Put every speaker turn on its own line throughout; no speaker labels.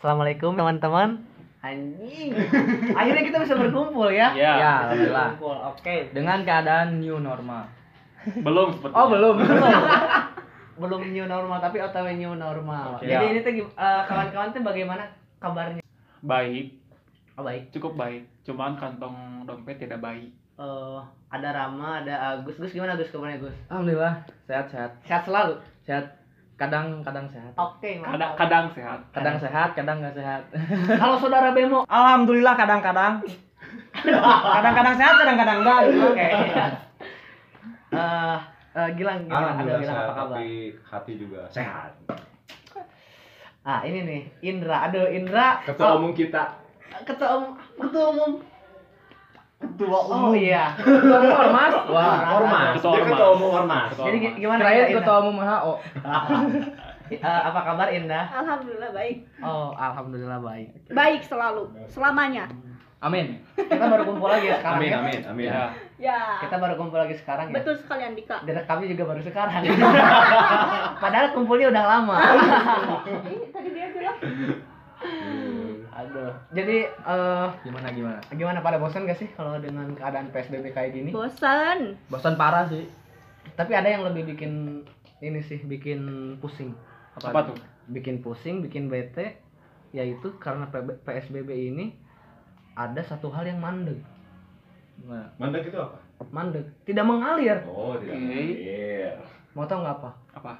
Assalamualaikum teman-teman. Anjing. Akhirnya kita bisa berkumpul ya.
Ya.
Ya,
Bisa
alhamdulillah.
berkumpul. Oke.
Dengan keadaan new normal.
Belum sepertinya.
Oh, belum.
Belum new normal tapi otw new normal.
Oke.
Jadi
Ya.
ini tuh gim- eh, kawan-kawan tuh bagaimana kabarnya?
Baik,
Oh, baik.
cukup baik. Cuman kantong dompet tidak baik.
Eh, ada Rama, ada Agus. Gus gimana Gus kabarnya Gus?
alhamdulillah, sehat-sehat.
Sehat selalu.
Sehat kadang kadang sehat.
Oke, mantap.
Kadang, kadang sehat.
Kadang sehat, kadang nggak sehat.
Kalau saudara Bemo.
Alhamdulillah kadang-kadang. Kadang-kadang sehat, kadang-kadang enggak.
Oke. Eh, eh, Gilang, gimana? Ada
Alhamdulillah
Gilang
sehat,
apa kabar?
tapi hati juga sehat.
Ah, ini nih, Indra. Aduh, Indra. Oh,
Ketua umum kita.
ketua umum ketua umum ketua umum oh iya
Ketua Mas. Wah.
Wah.
Ormas.
Ketua
Dia
ormas.
ketua umum ormas.
Ketua
jadi gi-
ormas.
gimana
Terakhir
Indah?
ketua umum HO.
Eh, apa kabar Indah
Alhamdulillah baik.
oh alhamdulillah baik
Baik selalu, selamanya.
Amin.
kita baru kumpul lagi ya sekarang
Amin,
ya?
amin, amin.
Ya.
Ya.
kita baru kumpul lagi sekarang ya
Betul sekali Andika.
direkamnya juga baru sekarang padahal kumpulnya udah lama
Ih, Eh, tadi dia bilang
aduh jadi eh,
Gimana gimana?
gimana pada bosan gak sih kalau dengan keadaan psbb kayak gini
bosan.
Bosan parah sih.
tapi ada yang lebih bikin ini sih bikin pusing
Apa tuh?
bikin pusing, bikin bete, yaitu karena PB PSBB ini ada satu hal yang mandek,
Gimana?
Mandek itu apa?
mandek, tidak mengalir.
Oh, tidak.
Oke.
Iya.
Mau tau nggak apa?
Apa?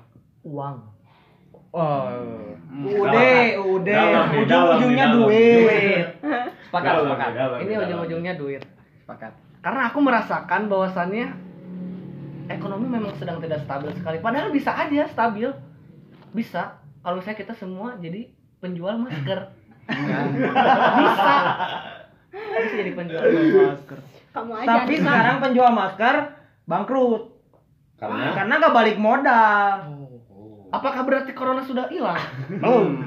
Uang.
Oh.
Hmm,
ude,
Dalam nih, dalam nih, dalam.
duit. Sepakat,
Dalam nih,
sepakat.
dalam nih,
Ini
dalam.
ujung-ujungnya duit.
Sepakat.
Karena aku merasakan bahwasannya ekonomi memang sedang tidak stabil sekali. Padahal bisa aja stabil, bisa. Kalau misalnya kita semua jadi penjual masker, bisa. Bisa jadi penjual masker.
Kamu aja
Tapi
Andika.
sekarang penjual masker bangkrut
Karena
karena nggak balik modal.
Apakah berarti corona sudah hilang?
Belum.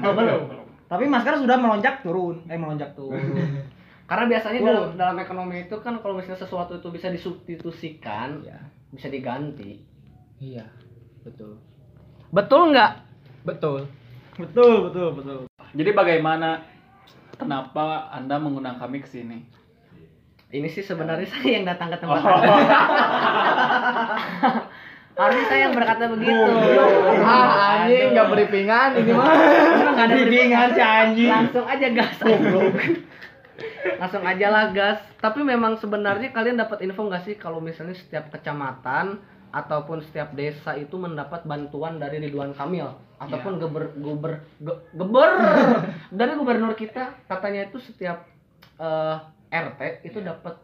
Hmm.
Oh, belum.
Tapi masker sudah melonjak turun, eh melonjak turun.
Karena biasanya dalam,
Belum.
dalam ekonomi itu kan kalau misalnya sesuatu itu bisa disubstitusikan,
Iya.
bisa diganti.
Iya. Betul.
Betul nggak?
Betul.
betul, betul, betul.
Jadi bagaimana kenapa Anda mengundang kami ke sini?
Ini sih sebenarnya saya yang datang ke
Oh,
tempat Anda. Harusnya saya yang berkata begitu.
Ah, anjing nggak
beri
briefing-an ini mah.
Enggak ada
Bimbingan si anjing.
Langsung aja gas. Langsung aja lah gas. Tapi memang sebenarnya kalian dapat info nggak sih kalau misalnya setiap kecamatan ataupun setiap desa itu mendapat bantuan dari Ridwan Kamil ataupun geber guber ge- geber dari gubernur kita katanya itu setiap eh, RT itu dapat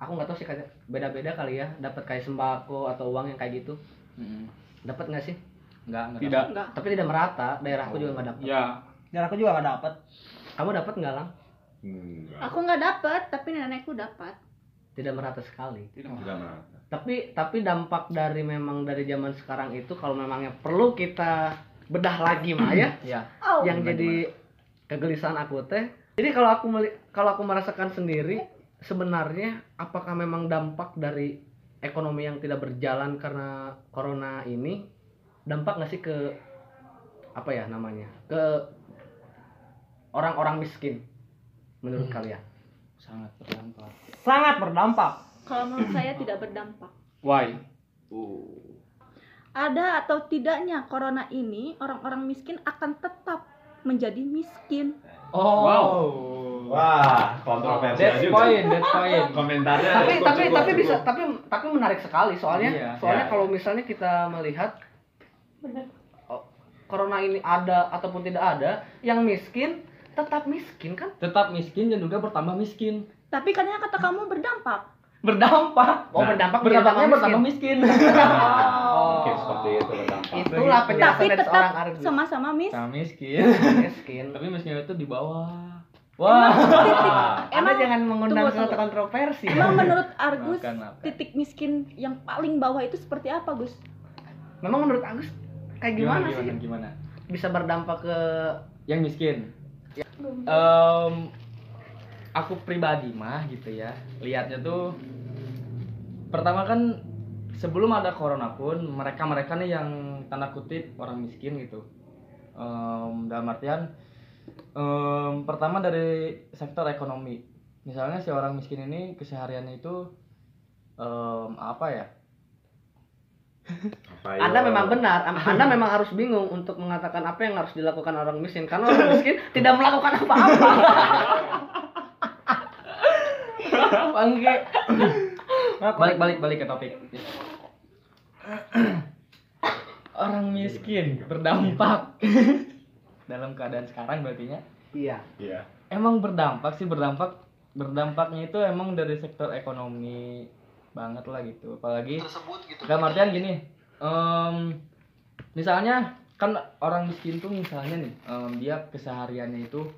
aku nggak tahu sih kayak beda-beda kali ya dapat kayak sembako atau uang yang kayak gitu
Mm-mm.
dapat nggak sih
Enggak, enggak.
Tidak.
Enggak.
tapi tidak merata daerahku juga nggak dapat
Ya.
Dan aku juga nggak dapet.
kamu dapat nggak lang
Enggak.
Aku nggak dapat, tapi nenekku dapat.
tidak merata sekali
Tidak.
Tidak merata.
tapi tapi dampak dari memang dari zaman sekarang itu kalau memangnya perlu kita bedah lagi mah ya
Iya.
Oh.
yang jadi kegelisahan aku teh jadi kalau aku meli- kalau aku merasakan sendiri sebenarnya apakah memang dampak dari ekonomi yang tidak berjalan karena corona ini dampak nggak sih ke apa ya namanya ke orang-orang miskin menurut
Hmm.
kalian
Sangat berdampak.
Sangat berdampak.
Kalau menurut saya tidak berdampak.
Why?
Uh.
Ada atau tidaknya corona ini orang-orang miskin akan tetap menjadi miskin.
Oh.
Wow.
Wah, kontroversial
That's
juga.
point, that's point.
Komentarnya
tapi
cukup,
tapi
cukup,
tapi
cukup.
bisa tapi tapi menarik sekali soalnya
Iya,
soalnya
iya.
kalau misalnya kita melihat oh, corona ini ada ataupun tidak ada yang miskin tetap miskin kan
Tetap miskin dan juga bertambah miskin.
Tapi katanya kata kamu berdampak.
Berdampak.
oh
Nah,
berdampak
Berdampaknya
berdampak
bertambah
miskin
miskin.
Oke, seperti itu berdampak.
itulah penjelasan
Tapi
dari seorang
tetap
Ardi
sama-sama mis.
Sama miskin.
miskin
Tapi miskin itu di bawah.
Emang titik-
Ah,
anda
Emang
jangan mengundang
tunggu,
suatu
tunggu.
kontroversi
Emang menurut Argus
Makan, makan.
titik miskin yang paling bawah itu seperti apa Gus?
memang menurut Agus kayak gimana, sih
Gimana? gimana?
bisa berdampak ke
Yang miskin. Em, aku pribadi mah gitu ya. Lihatnya tuh pertama kan sebelum ada corona pun mereka mereka nih yang tanda kutip orang miskin gitu Em, dalam artian Em, pertama dari sektor ekonomi. Misalnya si orang miskin ini kesehariannya itu em, apa ya?
Anda memang
Iya.
benar, Am- Anda memang harus bingung untuk mengatakan apa yang harus dilakukan orang miskin karena orang miskin tidak melakukan apa-apa.
Bangke. Ah, balik balik balik ke topik. orang miskin berdampak dalam keadaan sekarang ya. berartinya
Iya.
Iya.
emang berdampak sih berdampak berdampaknya itu emang dari sektor ekonomi banget lah gitu apalagi dalam artian gini em, misalnya kan orang miskin tuh misalnya nih em, dia kesehariannya itu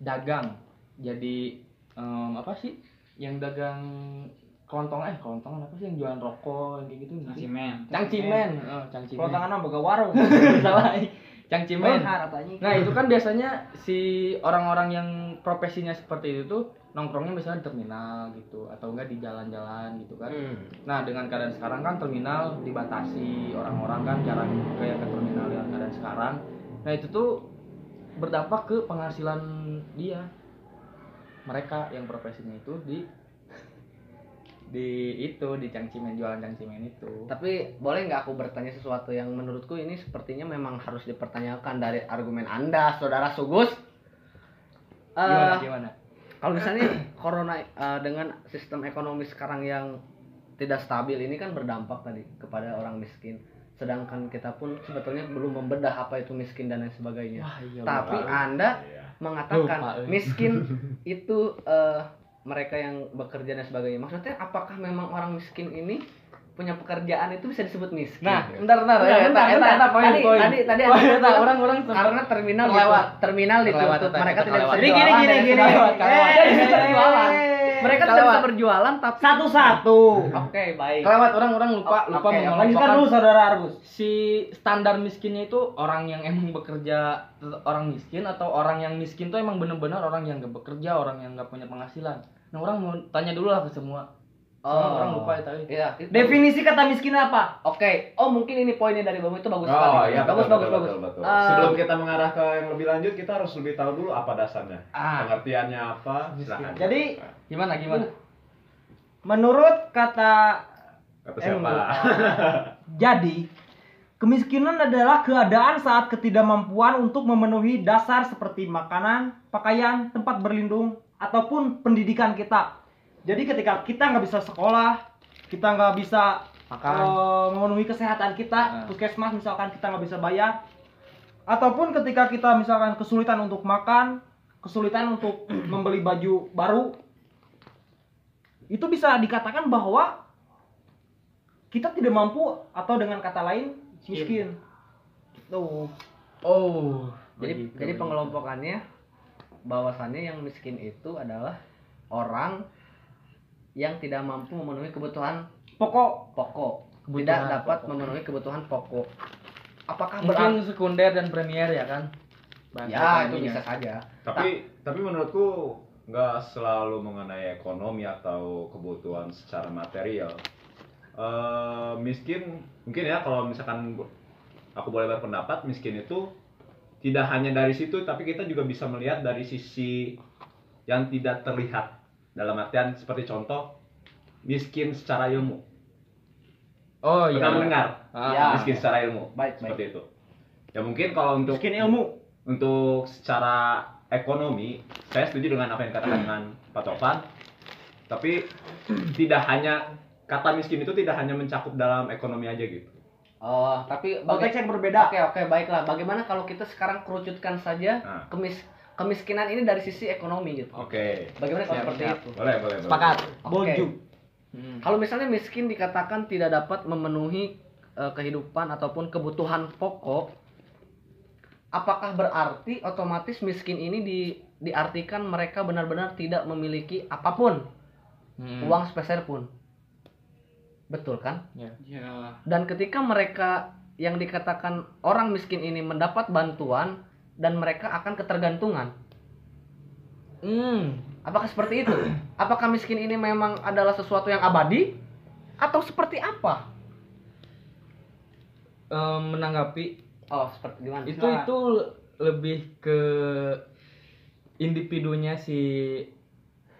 dagang jadi em, apa sih yang dagang kelontong eh kelontong apa sih yang jualan rokok yang kayak gitu nggak sih?
Cimen.
cangcimen eh, cangcimen
Kalau tangan mah boga warung.
salah cangcimen
Mahar atanya.
Nah itu kan biasanya si orang-orang yang profesinya seperti itu tuh nongkrongnya misalnya di terminal gitu atau enggak di jalan-jalan gitu kan.
Hmm.
Nah dengan keadaan sekarang kan terminal dibatasi orang-orang kan jarang kayak ke terminal yang keadaan sekarang. Nah itu tuh berdampak ke penghasilan dia mereka yang profesinya itu di di itu di cangcimen jualan cangcimen itu.
Tapi boleh nggak aku bertanya sesuatu yang menurutku ini sepertinya memang harus dipertanyakan dari argumen Anda, Saudara Sugus? Eh,
Gimana gimana?
kalau misalnya corona eh, dengan sistem ekonomi sekarang yang tidak stabil ini kan berdampak tadi kepada orang miskin. Sedangkan kita pun sebetulnya belum membedah apa itu miskin dan lain sebagainya.
Wah iya.
Tapi
Bang.
Anda
Iya.
Lupa,
mengatakan
eh.
miskin itu eh, mereka yang bekerja dan sebagainya. Maksudnya apakah memang orang miskin ini punya pekerjaan itu bisa disebut miskin?
Nah, bentar bentar,
Nah,
ya,
bentar,
eta
bentar.
eta poin
Tadi-
poin.
tadi- tadi
Poin,
ada
eta
bilang,
orang-orang
karena terminal
Terlewat.
gitu. terminal
Terlewat,
ditutup,
terlewat,
mereka tidak bisa
terlewat.
Jadi gini
berjualan
gini
eh,
dan
gini.
sebagainya.
Kelewat,
kan?
kelewat.
Tidak bisa berjualan.
Eh,
Mereka tidak bisa berjualan tapi
Satu-satu.
Oke, baik.
Kelewat orang-orang lupa
Oke,
lupa
oke.
Lanjutkan dulu
mengelompokkan
saudara Argus.
si standar miskinnya itu orang yang emang bekerja tet- orang miskin atau orang yang miskin tuh emang bener-bener orang yang gak bekerja orang yang gak punya penghasilan. Nah orang mau tanya dulu lah ke semua. Soalnya orang lupa ya tadi.
Iya, itu.
Definisi kata miskin apa?
Oh. Oke. Oh, mungkin ini poinnya dari Bang itu bagus sekali.
Oh iya
bagus bagus
betul, betul,
bagus.
betul, betul.
Eh,
Sebelum kita mengarah ke yang lebih lanjut, kita harus lebih tahu dulu apa dasarnya,
Ah
pengertiannya apa. Silahkan.
Jadi-
gimana gimana?
Uh.
Menurut kata
kata
Eh,
siapa?
menurut- Jadi, kemiskinan adalah keadaan saat ketidakmampuan untuk memenuhi dasar seperti makanan, pakaian, tempat berlindung, ataupun pendidikan kita. Jadi ketika kita nggak bisa sekolah, kita nggak bisa
Makan.
eh, memenuhi kesehatan kita,
Ah.
puskesmas misalkan kita nggak bisa bayar, ataupun ketika kita misalkan kesulitan untuk makan, kesulitan untuk membeli baju baru, itu bisa dikatakan bahwa kita tidak mampu atau dengan kata lain miskin. Tuh.
Oh.
Jadi
begitu,
jadi
begitu.
pengelompokannya bahwasannya yang miskin itu adalah orang yang tidak mampu memenuhi kebutuhan
Pokok
pokok, tidak
Kebutuhan
dapat
pokok.
memenuhi kebutuhan pokok. Apakah
mungkin
berarti
sekunder dan premier ya kan? Bahan
Ya, itu
ekonominya.
bisa saja.
tapi tapi menurutku nggak selalu mengenai ekonomi atau kebutuhan secara material Eh, miskin mungkin ya kalau misalkan bu- aku boleh berpendapat miskin itu tidak hanya dari situ tapi kita juga bisa melihat dari sisi yang tidak terlihat dalam artian seperti contoh miskin secara ilmu
Oh iya.
pernah mendengar
Ah,
Ya.
miskin secara ilmu
Baik, baik.
seperti itu ya mungkin kalau untuk
miskin ilmu.
untuk secara ekonomi saya setuju dengan apa yang dikatakan dengan Pak Topan tapi tidak hanya kata miskin itu tidak hanya mencakup dalam ekonomi aja gitu
Oh, tapi baga-
Konteks yang berbeda.
Oke, oke, baiklah. Bagaimana kalau kita sekarang kerucutkan saja
Nah.
kemis kemiskinan ini dari sisi ekonomi gitu.
oke
Bagaimana kalau
Siap,
seperti
siap.
itu?
boleh boleh boleh.
Sepakat.
Oke.
Bolju.
Hmm.
Kalau misalnya miskin dikatakan tidak dapat memenuhi eh, kehidupan ataupun kebutuhan pokok, apakah berarti otomatis miskin ini di diartikan mereka benar-benar tidak memiliki apapun,
Hmm.
uang sepeser pun. Betul kan?
Ya.
Dan ketika mereka yang dikatakan orang miskin ini mendapat bantuan dan mereka akan ketergantungan.
Hmm.
Apakah seperti itu? Apakah miskin ini memang adalah sesuatu yang abadi atau seperti apa?
Eh, menanggapi
Oh, seperti gimana?
itu itu lebih ke individunya si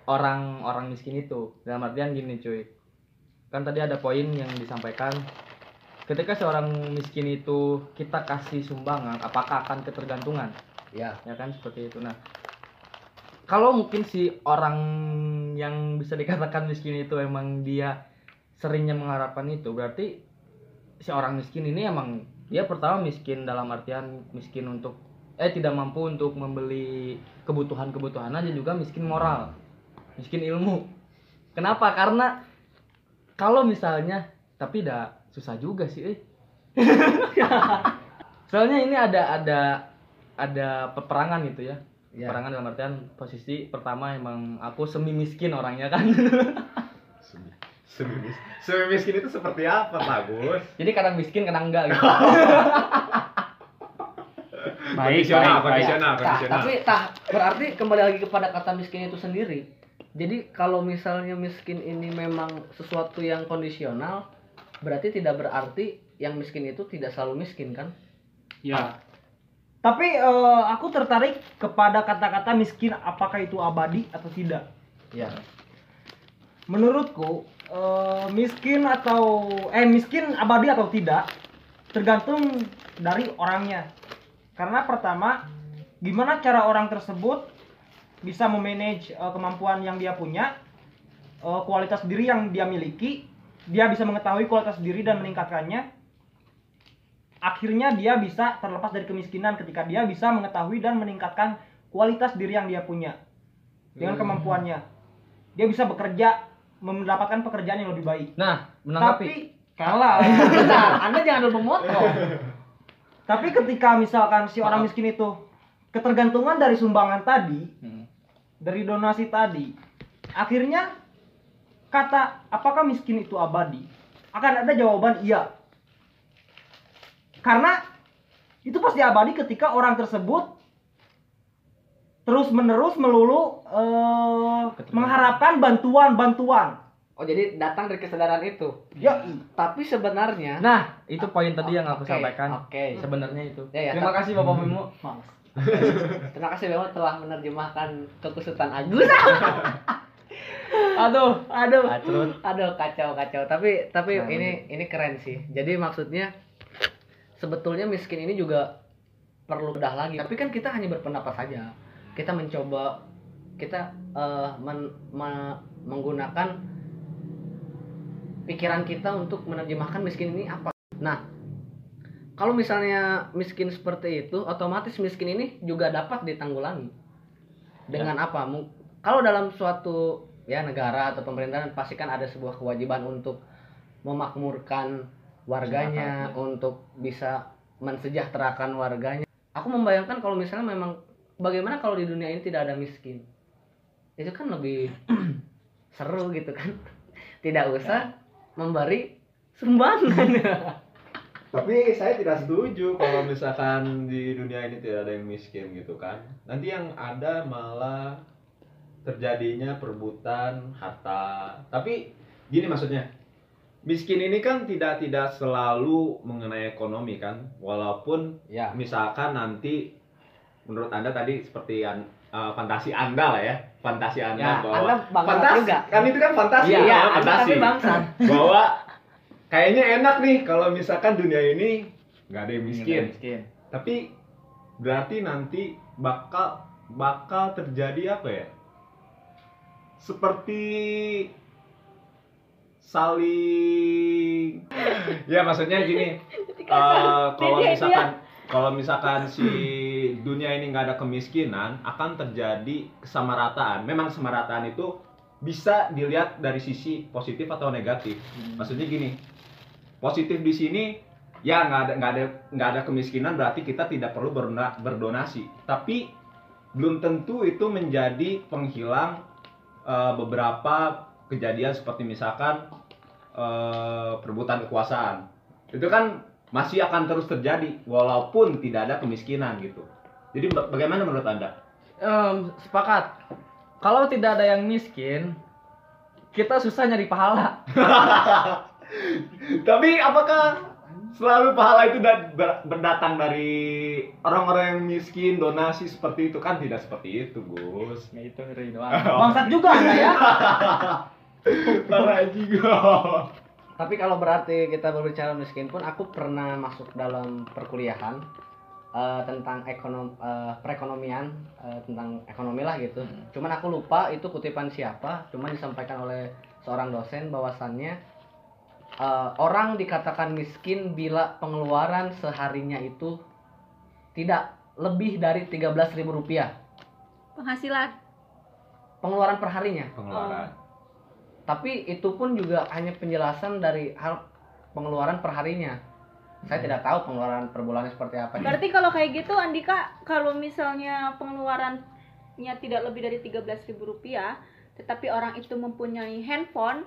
orang-orang miskin itu. Dalam artian gini cuy. Kan tadi ada poin yang disampaikan ketika seorang miskin itu kita kasih sumbangan apakah akan ketergantungan?
ya
ya kan seperti itu nah kalau mungkin si orang yang bisa dikatakan miskin itu emang dia seringnya mengharapkan itu berarti si orang miskin ini emang dia pertama miskin dalam artian miskin untuk eh tidak mampu untuk membeli kebutuhan kebutuhan aja juga miskin moral miskin ilmu kenapa karena kalau misalnya tapi dah susah juga sih eh. soalnya ini ada ada ada peperangan gitu ya
ya
peperangan dalam artian posisi pertama emang aku semi miskin orangnya kan
Semi, semi, mis- semi miskin itu seperti apa, Pak Gus?
jadi kadang miskin kadang enggak gitu
Baik, baik,
kondisional,
baik.
kondisional,
Tah,
kondisional.
ah.
tapi tah berarti kembali lagi kepada kata miskin itu sendiri. Jadi kalau misalnya miskin ini memang sesuatu yang kondisional, berarti tidak berarti yang miskin itu tidak selalu miskin kan?
Ya,
Tapi eh, aku tertarik kepada kata-kata miskin apakah itu abadi atau tidak.
Ya.
Menurutku eh, miskin atau eh miskin abadi atau tidak tergantung dari orangnya. Karena pertama gimana cara orang tersebut bisa memanage eh, kemampuan yang dia punya, eh, kualitas diri yang dia miliki, dia bisa mengetahui kualitas diri dan meningkatkannya. Akhirnya dia bisa terlepas dari kemiskinan ketika dia bisa mengetahui dan meningkatkan kualitas diri yang dia punya dengan
Hmm.
kemampuannya. Dia bisa bekerja mendapatkan pekerjaan yang lebih baik.
nah
Tapi
menanggapi
kalah.
Bentar, Anda jangan dulu memotong.
Tapi ketika misalkan si orang miskin itu ketergantungan dari sumbangan tadi,
Hmm.
dari donasi tadi, akhirnya kata apakah miskin itu abadi? Akan ada jawaban iya. Karena itu pasti abadi ketika orang tersebut terus menerus melulu eh,
Ketergantungan.
mengharapkan bantuan-bantuan.
Oh, jadi datang dari kesadaran itu.
Ya,
Tapi sebenarnya
nah itu poin tadi yang aku
Oke,
sampaikan
Oke.
sebenarnya itu
Ya, ya,
terima
tapi-
kasih bapak Bimo
Terima kasih Bemo telah menerjemahkan kekusutan Agus.
aduh
aduh
Acrut.
aduh kacau kacau tapi tapi
Nah,
ini ini keren sih jadi maksudnya sebetulnya miskin ini juga perlu bedah lagi tapi kan kita hanya berpendapat saja kita mencoba kita eh, men- me- menggunakan pikiran kita untuk menerjemahkan miskin ini apa nah kalau misalnya miskin seperti itu otomatis miskin ini juga dapat ditanggulangi dengan apa Mung- kalau dalam suatu ya negara atau pemerintahan pasti kan ada sebuah kewajiban untuk memakmurkan warganya untuk bisa mensejahterakan warganya aku membayangkan kalau misalnya memang bagaimana kalau di dunia ini tidak ada miskin itu kan lebih seru gitu kan tidak usah memberi sumbangan
Tapi saya tidak setuju kalau misalkan di dunia ini tidak ada yang miskin gitu kan. Nanti yang ada malah terjadinya perebutan harta. Tapi gini maksudnya. Miskin ini kan tidak tidak selalu mengenai ekonomi kan. Walaupun
ya
misalkan nanti menurut Anda tadi seperti an- eh, fantasi Anda lah ya. Fantasi Anda
ya
bahwa
anda bangsat
fantasi.
juga
Kan itu kan fantasi.
iya
namanya
anda tapi bangsat
bahwa kayaknya enak nih kalau misalkan dunia ini nggak ada yang miskin
Iya.
miskin.
tapi berarti nanti bakal bakal terjadi apa ya seperti saling ya maksudnya gini eh, kalau
Dia- dia-
misalkan kalau misalkan si dunia ini nggak ada kemiskinan akan terjadi kesamarataan memang kesamarataan itu bisa dilihat dari sisi positif atau negatif maksudnya gini positif di sini ya nggak ada nggak ada nggak ada kemiskinan berarti kita tidak perlu berna- berdonasi tapi belum tentu itu menjadi penghilang eh, beberapa kejadian seperti misalkan eh, perebutan kekuasaan itu kan masih akan terus terjadi walaupun tidak ada kemiskinan gitu jadi ba- bagaimana menurut anda
Em, sepakat kalau tidak ada yang miskin kita susah nyari pahala
tapi apakah Selalu pahala itu da- ber- berdatang dari orang-orang yang miskin, donasi seperti itu kan tidak seperti itu, Gus.
Nggak Ya, itu ngeri doang.
Bangsat juga Anda ya.
Parah juga.
Tapi kalau berarti kita berbicara miskin pun, aku pernah masuk dalam perkuliahan eh, tentang ekonom eh, perekonomian, eh, tentang ekonomi lah gitu. Cuman aku lupa itu kutipan siapa, cuman disampaikan oleh seorang dosen bahwasannya eh, orang dikatakan miskin bila pengeluaran seharinya itu tidak lebih dari 13.000 rupiah
penghasilan
pengeluaran perharinya.
Pengeluaran.
tapi itu pun juga hanya penjelasan dari hal pengeluaran perharinya saya tidak tahu pengeluaran per bulannya seperti apa
berarti kalau kayak gitu Andika kalau misalnya pengeluarannya tidak lebih dari 13.000 rupiah tetapi orang itu mempunyai handphone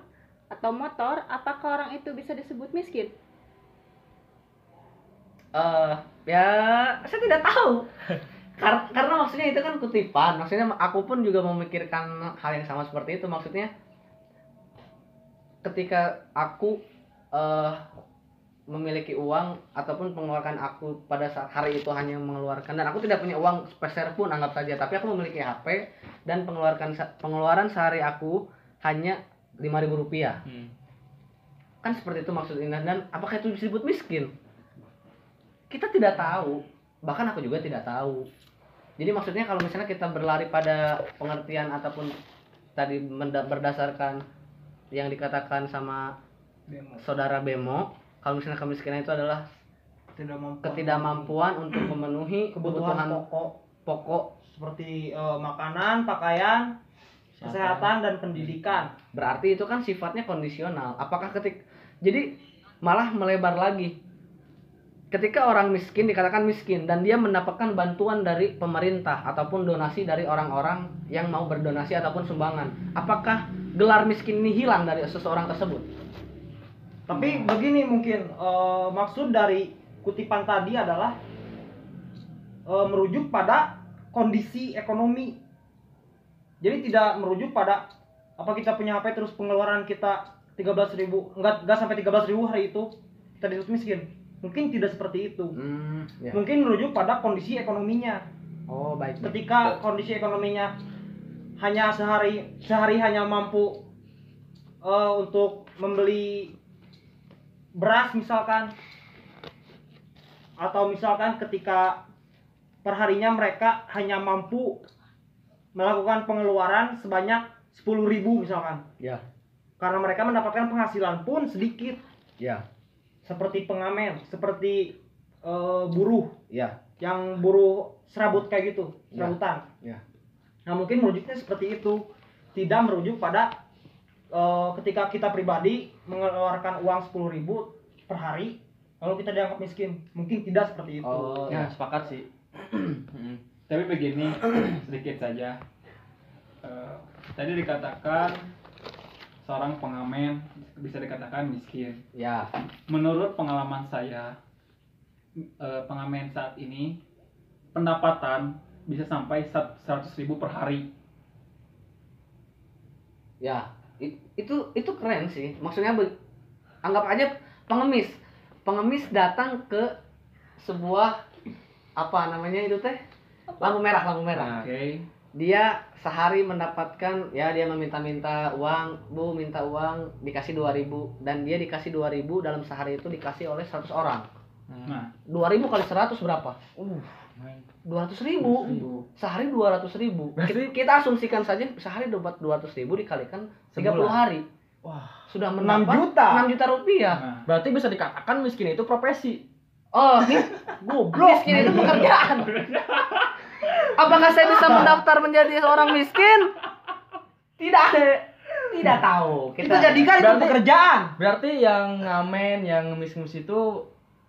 atau motor apakah orang itu bisa disebut miskin
Eh, ya saya tidak tahu Kar- karena maksudnya itu kan kutipan maksudnya aku pun juga memikirkan hal yang sama seperti itu maksudnya ketika aku eh memiliki uang ataupun pengeluaran aku pada saat hari itu hanya mengeluarkan dan aku tidak punya uang sepeser pun anggap saja tapi aku memiliki HP dan pengeluaran pengeluaran sehari aku hanya 5.000 rupiah
Hmm.
kan seperti itu maksudnya dan apakah itu disebut miskin kita tidak tahu bahkan aku juga tidak tahu jadi maksudnya kalau misalnya kita berlari pada pengertian ataupun tadi menda- berdasarkan yang dikatakan sama saudara Bemo kalau misalnya kemiskinan itu adalah
Tidak mampu.
ketidakmampuan untuk memenuhi
kebutuhan
kebutuhan
pokok
pokok
seperti eh, makanan, pakaian, kesehatan dan pendidikan.
berarti itu kan sifatnya kondisional apakah ketik jadi malah melebar lagi ketika orang miskin dikatakan miskin dan dia mendapatkan bantuan dari pemerintah ataupun donasi dari orang-orang yang mau berdonasi ataupun sumbangan apakah gelar miskin ini hilang dari seseorang tersebut
Tapi begini mungkin eh, maksud dari kutipan tadi adalah eh, merujuk pada kondisi ekonomi. Jadi tidak merujuk pada apa kita punya HP terus pengeluaran kita 13.000 enggak enggak sampai 13.000 hari itu kita disebut miskin. Mungkin tidak seperti itu.
hmm, ya.
Mungkin merujuk pada kondisi ekonominya.
oh baik baik.
Ketika kondisi ekonominya hanya sehari sehari hanya mampu eh, untuk membeli beras misalkan atau misalkan ketika perharinya mereka hanya mampu melakukan pengeluaran sebanyak 10.000 misalkan.
Ya.
Karena mereka mendapatkan penghasilan pun sedikit
ya
seperti pengamen, seperti eh, buruh
ya
yang buruh serabut kayak gitu,
Ya.
serabutan.
Ya.
Nah, mungkin merujuknya seperti itu. Tidak merujuk pada eh, ketika kita pribadi mengeluarkan uang 10.000 per hari lalu kita dianggap miskin. Mungkin tidak seperti itu.
oh
Ya,
ya.
sepakat sih. Mm. Tapi begini sedikit saja. Eh, tadi dikatakan seorang pengamen bisa dikatakan miskin.
ya
Menurut pengalaman saya, eh, pengamen saat ini pendapatan bisa sampai 100.000 ribu per hari.
Ya, i- itu itu keren sih. Maksudnya be- anggap aja pengemis. Pengemis datang ke sebuah apa namanya itu teh? Lampu merah, lampu merah.
Nah.
Oke.
Dia sehari mendapatkan ya dia meminta-minta uang, Bu minta uang dikasih 2000 dan dia dikasih 2000 dalam sehari itu dikasih oleh 100 orang.
Nah,
2000 kali 100 berapa? Uh, 200 ribu
Hmm.
seribu.
sehari 200 ribu kita, asumsikan saja sehari dapat 200 ribu dikalikan 30
Sebulan.
hari
Wah.
sudah
6
mendapat
juta.
6 juta rupiah
Nah,
Berarti bisa dikatakan miskin itu profesi.
oh goblok miskin itu pekerjaan apakah saya bisa mendaftar menjadi seorang miskin tidak tidak tahu
Kita jadikan itu
Berarti-
pekerjaan.
Berarti yang ngamen, yang ngemis-ngemis itu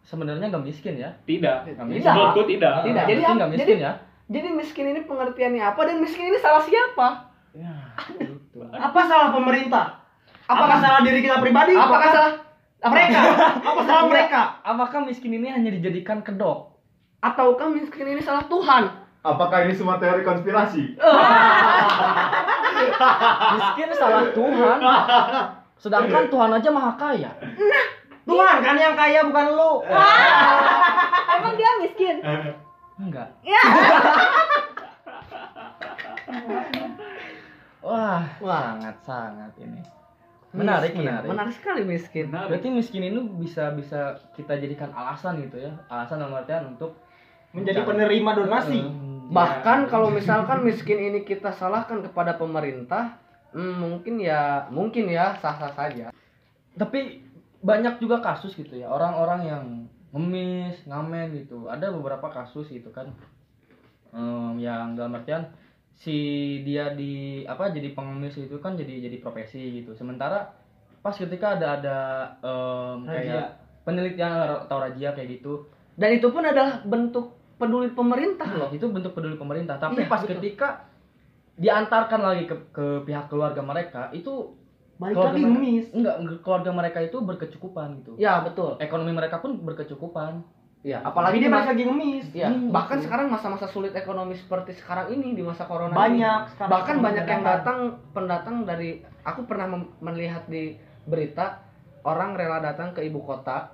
sebenarnya nggak miskin ya?
tidak.
Tidak.
Menurutku tidak.
Tidak.
Jadi
Jadi-
nggak miskin ya?
jadi miskin ini pengertiannya apa dan miskin ini salah siapa
Apa salah pemerintah? Apakah salah diri kita pribadi?
apakah salah
mereka? Apa salah mereka?
Apakah miskin ini hanya dijadikan kedok?
ataukah miskin ini salah Tuhan
Apakah ini semua teori konspirasi?
Miskin salah Tuhan. Sedangkan Tuhan aja maha kaya.
Tuhan kan yang kaya bukan lu.
Eh.
Emang dia miskin?
Enggak.
Ya.
Wah,
Wah.
sangat sangat ini. Menarik,
Miskin.
menarik.
Menarik sekali miskin.
Berarti miskin itu bisa bisa kita jadikan alasan gitu ya. Alasan dalam artian untuk
Menjadi penerima donasi.
Hmm.
Eh,
Bahkan kalau misalkan miskin ini kita salahkan kepada pemerintah, hmm, mungkin ya mungkin ya sah-sah saja.
tapi banyak juga kasus gitu ya orang-orang yang ngemis ngamen gitu ada beberapa kasus gitu kan Em, yang dalam artian si dia di apa jadi pengemis itu kan jadi jadi profesi gitu sementara pas ketika ada ada em, kayak penelitian atau razia kayak gitu
Dan itu pun adalah bentuk peduli pemerintah loh.
itu bentuk peduli pemerintah tapi
Iya,
pas
betul.
ketika diantarkan lagi ke, ke pihak keluarga mereka itu
Balik
Kalau
lagi hmm.
gimana?
ngemis.
enggak keluarga mereka itu berkecukupan gitu
Ya betul.
ekonomi mereka pun berkecukupan
Ya
Apalagi
apalagi
dia
di
balik
masa
lagi ngemis.
ya,
Hmm,
bahkan
betul.
sekarang masa-masa sulit ekonomi seperti sekarang ini di masa corona ini.
Banyak sekarang Nah,
bahkan
orang
banyak yang
berdatangan.
datang pendatang dari aku pernah mem- melihat di berita orang rela datang ke ibu kota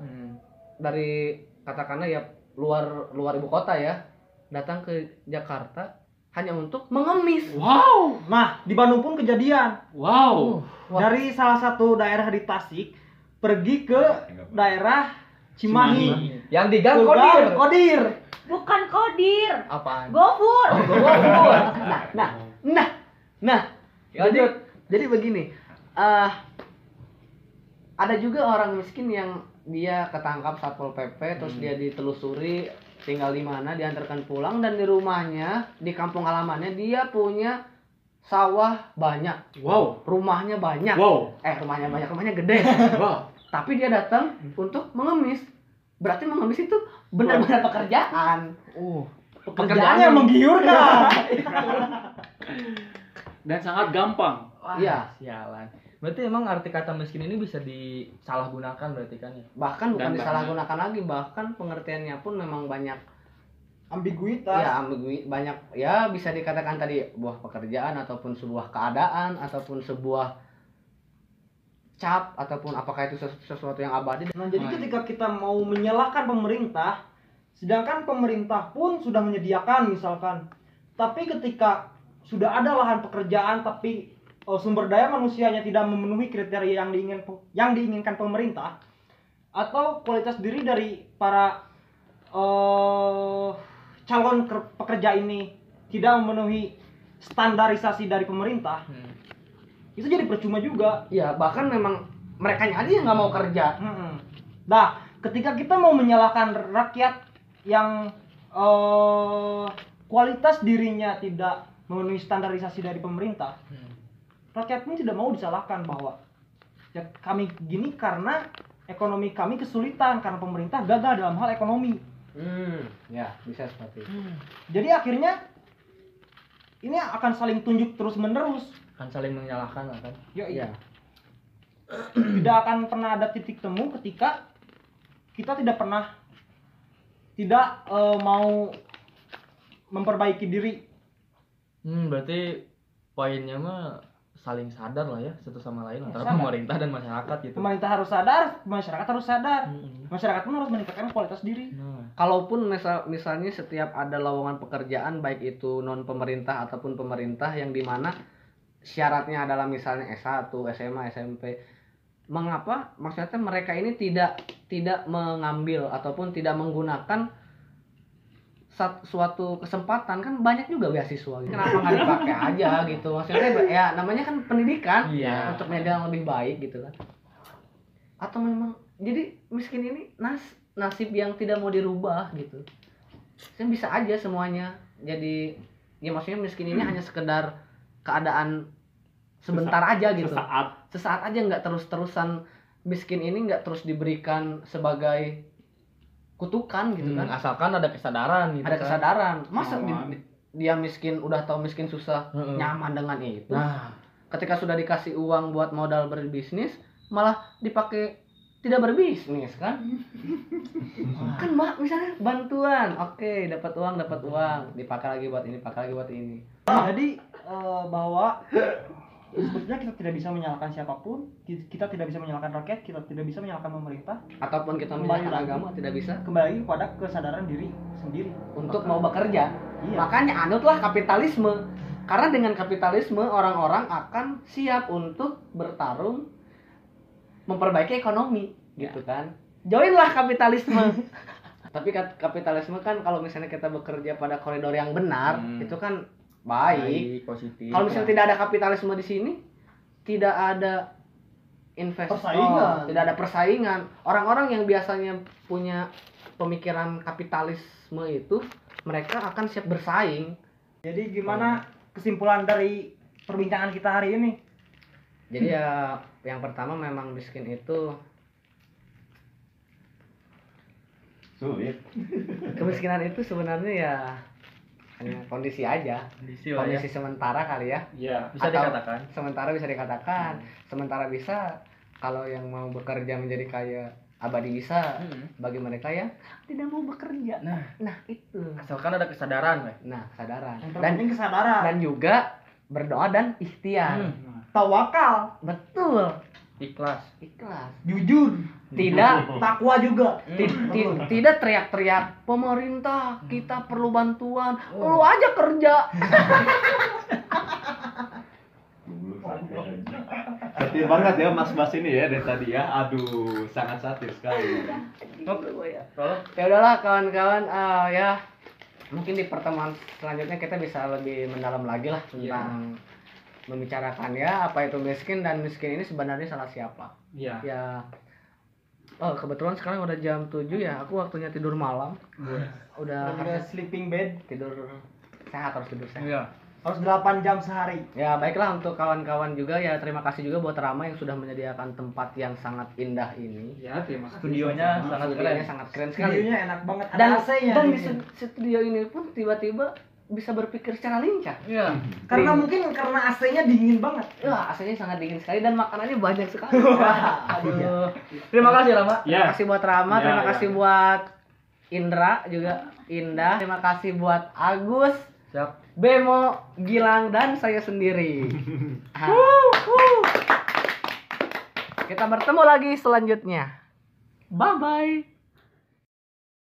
dari katakanlah ya luar luar ibu kota ya datang ke Jakarta hanya untuk mengemis
Wow,
Nah, di Bandung pun kejadian.
wow.
Wah.
Dari salah satu daerah di Tasik pergi ke
Nah, ya,
daerah Cimahi.
yang digang
Kodir,
kodir
kodir.
Bukan kodir.
apaan
Gofur.
nah nah nah nah
Ya,
jadi
lanjut
jadi begini eh ada juga orang miskin yang dia ketangkap satpol pp terus
Hmm.
dia ditelusuri tinggal di mana diantarkan pulang dan di rumahnya di kampung halamannya dia punya sawah banyak
Wow.
rumahnya banyak
Wow.
eh rumahnya banyak rumahnya gede
Wow.
tapi dia datang untuk mengemis berarti mengemis itu benar-benar pekerjaan
uh
Pekerjaannya menggiurkan.
Dan sangat gampang.
Iya.
sialan berarti emang arti kata miskin ini bisa disalahgunakan berarti kan ya
bahkan bukan
Dan
disalahgunakan lagi bahkan pengertiannya pun memang banyak
Ambiguitas.
ya ambigui- banyak ya bisa dikatakan tadi buah pekerjaan ataupun sebuah keadaan ataupun sebuah cap ataupun apakah itu sesu- sesuatu yang abadi
Nah, jadi
Nah,
ketika kita mau menyalahkan pemerintah, sedangkan pemerintah pun sudah menyediakan misalkan. Tapi ketika sudah ada lahan pekerjaan tapi eh, sumber daya manusianya tidak memenuhi kriteria yang diingin yang diinginkan pemerintah atau kualitas diri dari para eh, calon ker- pekerja ini tidak memenuhi standarisasi dari pemerintah,
Hmm,
itu jadi percuma juga.
ya bahkan memang mereka aja yang nggak mau kerja
Mm-mm. Nah, ketika kita mau menyalahkan rakyat yang eh, kualitas dirinya tidak memenuhi standarisasi dari pemerintah,
Hmm.
rakyat pun tidak mau disalahkan bahwa ya kami gini karena ekonomi kami kesulitan karena pemerintah gagal dalam hal ekonomi.
hmm ya bisa seperti itu
Jadi akhirnya ini akan saling tunjuk terus menerus.
kan saling menyalahkan lah kan
Yoi.
ya
iya.
Iya.
tidak akan pernah ada titik temu ketika kita tidak pernah tidak eh, mau memperbaiki diri
hmm berarti poinnya mah saling sadar lah ya satu sama
Iya,
lain antara
sadar.
pemerintah dan masyarakat gitu Hmm,
pemerintah harus sadar masyarakat harus sadar
Mm-mm.
masyarakat pun harus meningkatkan kualitas diri
nah
kalaupun misal misalnya setiap ada lowongan pekerjaan baik itu non pemerintah ataupun pemerintah yang dimana syaratnya adalah misalnya S1, SMA, SMP mengapa maksudnya mereka ini tidak tidak mengambil ataupun tidak menggunakan sat- suatu kesempatan kan banyak juga beasiswa gitu. kenapa nggak dipakai aja gitu maksudnya ya namanya kan pendidikan
Iya.
untuk media yang lebih baik gitu kan atau memang jadi miskin ini nas nasib yang tidak mau dirubah gitu kan bisa aja semuanya jadi ya maksudnya miskin
Hmm.
ini hanya sekedar keadaan sebentar aja gitu
Sesaat.
sesaat aja nggak terus-terusan miskin ini nggak terus diberikan sebagai kutukan gitu
Hmm,
kan
asalkan ada kesadaran gitu
ada
kan. ah.
kesadaran masa di-
Nyaman.
di- dia miskin udah tahu miskin susah
Mm-mm.
nyaman dengan itu
Hmm. nah
ketika sudah dikasih uang buat modal berbisnis malah dipakai tidak berbisnis kan kan mbak misalnya bantuan oke dapat uang
Ah.
dapat uang dipakai lagi buat ini pakai lagi buat ini
jadi eh, bahwa sebetulnya kita tidak bisa menyalahkan siapapun ki- kita tidak bisa menyalahkan rakyat kita tidak bisa menyalahkan pemerintah
ataupun kita
Kembali
menyalahkan
lagi.
agama tidak bisa
kembali lagi kepada kesadaran diri sendiri
untuk mau bekerja
iya
makanya anutlah kapitalisme karena dengan kapitalisme orang-orang akan siap untuk bertarung memperbaiki ekonomi
Iya.
gitu kan joinlah kapitalisme tapi kat- kapitalisme kan kalau misalnya kita bekerja pada koridor yang benar
Hmm.
itu kan baik
positif ya.
Kalau misalnya tidak ada kapitalisme di sini, tidak ada investor,
Persaingan.
tidak ada persaingan. Orang-orang yang biasanya punya pemikiran kapitalisme itu, mereka akan siap bersaing.
jadi gimana kesimpulan dari perbincangan kita hari ini
Jadi ya yang pertama memang miskin itu
Sulit.
kemiskinan itu sebenarnya ya hanya kondisi aja,
kondisi lah ya
kondisi sementara kali ya.
Iya.
bisa
Atau-
dikatakan
Sementara bisa dikatakan, sementara bisa kalau yang mau bekerja menjadi kaya abadi bisa
Hmm.
bagi mereka yang tidak mau bekerja.
Nah.
nah itu.
asalkan ada kesadaran weh.
Nah, kesadaran.
yang
Dan
terpenting kesadaran
dan juga berdoa dan ikhtiar.
Hmm.
tawakal
Betul.
ikhlas
Ikhlas. Hmm.
jujur
Tidak
Hmm.
takwa juga
ti- ti- tidak teriak-teriak pemerintah kita perlu bantuan. Lu aja kerja.
Satir banget ya mas-mas ini ya dari tadi ya. Aduh, sangat satir sekali.
kalau
Ya udahlah kawan-kawan eh, ya mungkin di pertemuan selanjutnya kita bisa lebih mendalam lagi lah tentang membicarakan ya apa itu miskin dan miskin ini sebenarnya salah siapa.
Iya.
Ya Oh, kebetulan sekarang udah jam 7 ya. Aku waktunya tidur malam. Udah
Udah sleeping bed
tidur sehat harus tidur sehat.
ya
harus 8 jam sehari
Ya baiklah untuk kawan-kawan juga ya terima kasih juga buat Rama yang sudah menyediakan tempat yang sangat indah ini.
Iya, terima kasih.
studionya Ya, sangat keren
Studionya sangat keren sekali.
videonya enak banget ada
Dan
AC-nya
dan
di
di
sini.
stud- studio ini pun tiba-tiba bisa berpikir secara lincah.
iya
karena mungkin karena AC-nya dingin banget
Wah, AC-nya sangat dingin sekali dan makanannya banyak sekali. Wah, aduh.
terima kasih Rama
Terima
Iya.
kasih buat Rama,
Ya,
terima
ya.
kasih buat Indra juga Indah, terima kasih buat Agus,
siap
Bemo, Gilang dan saya sendiri. Ah. Kita bertemu lagi selanjutnya. Bye bye.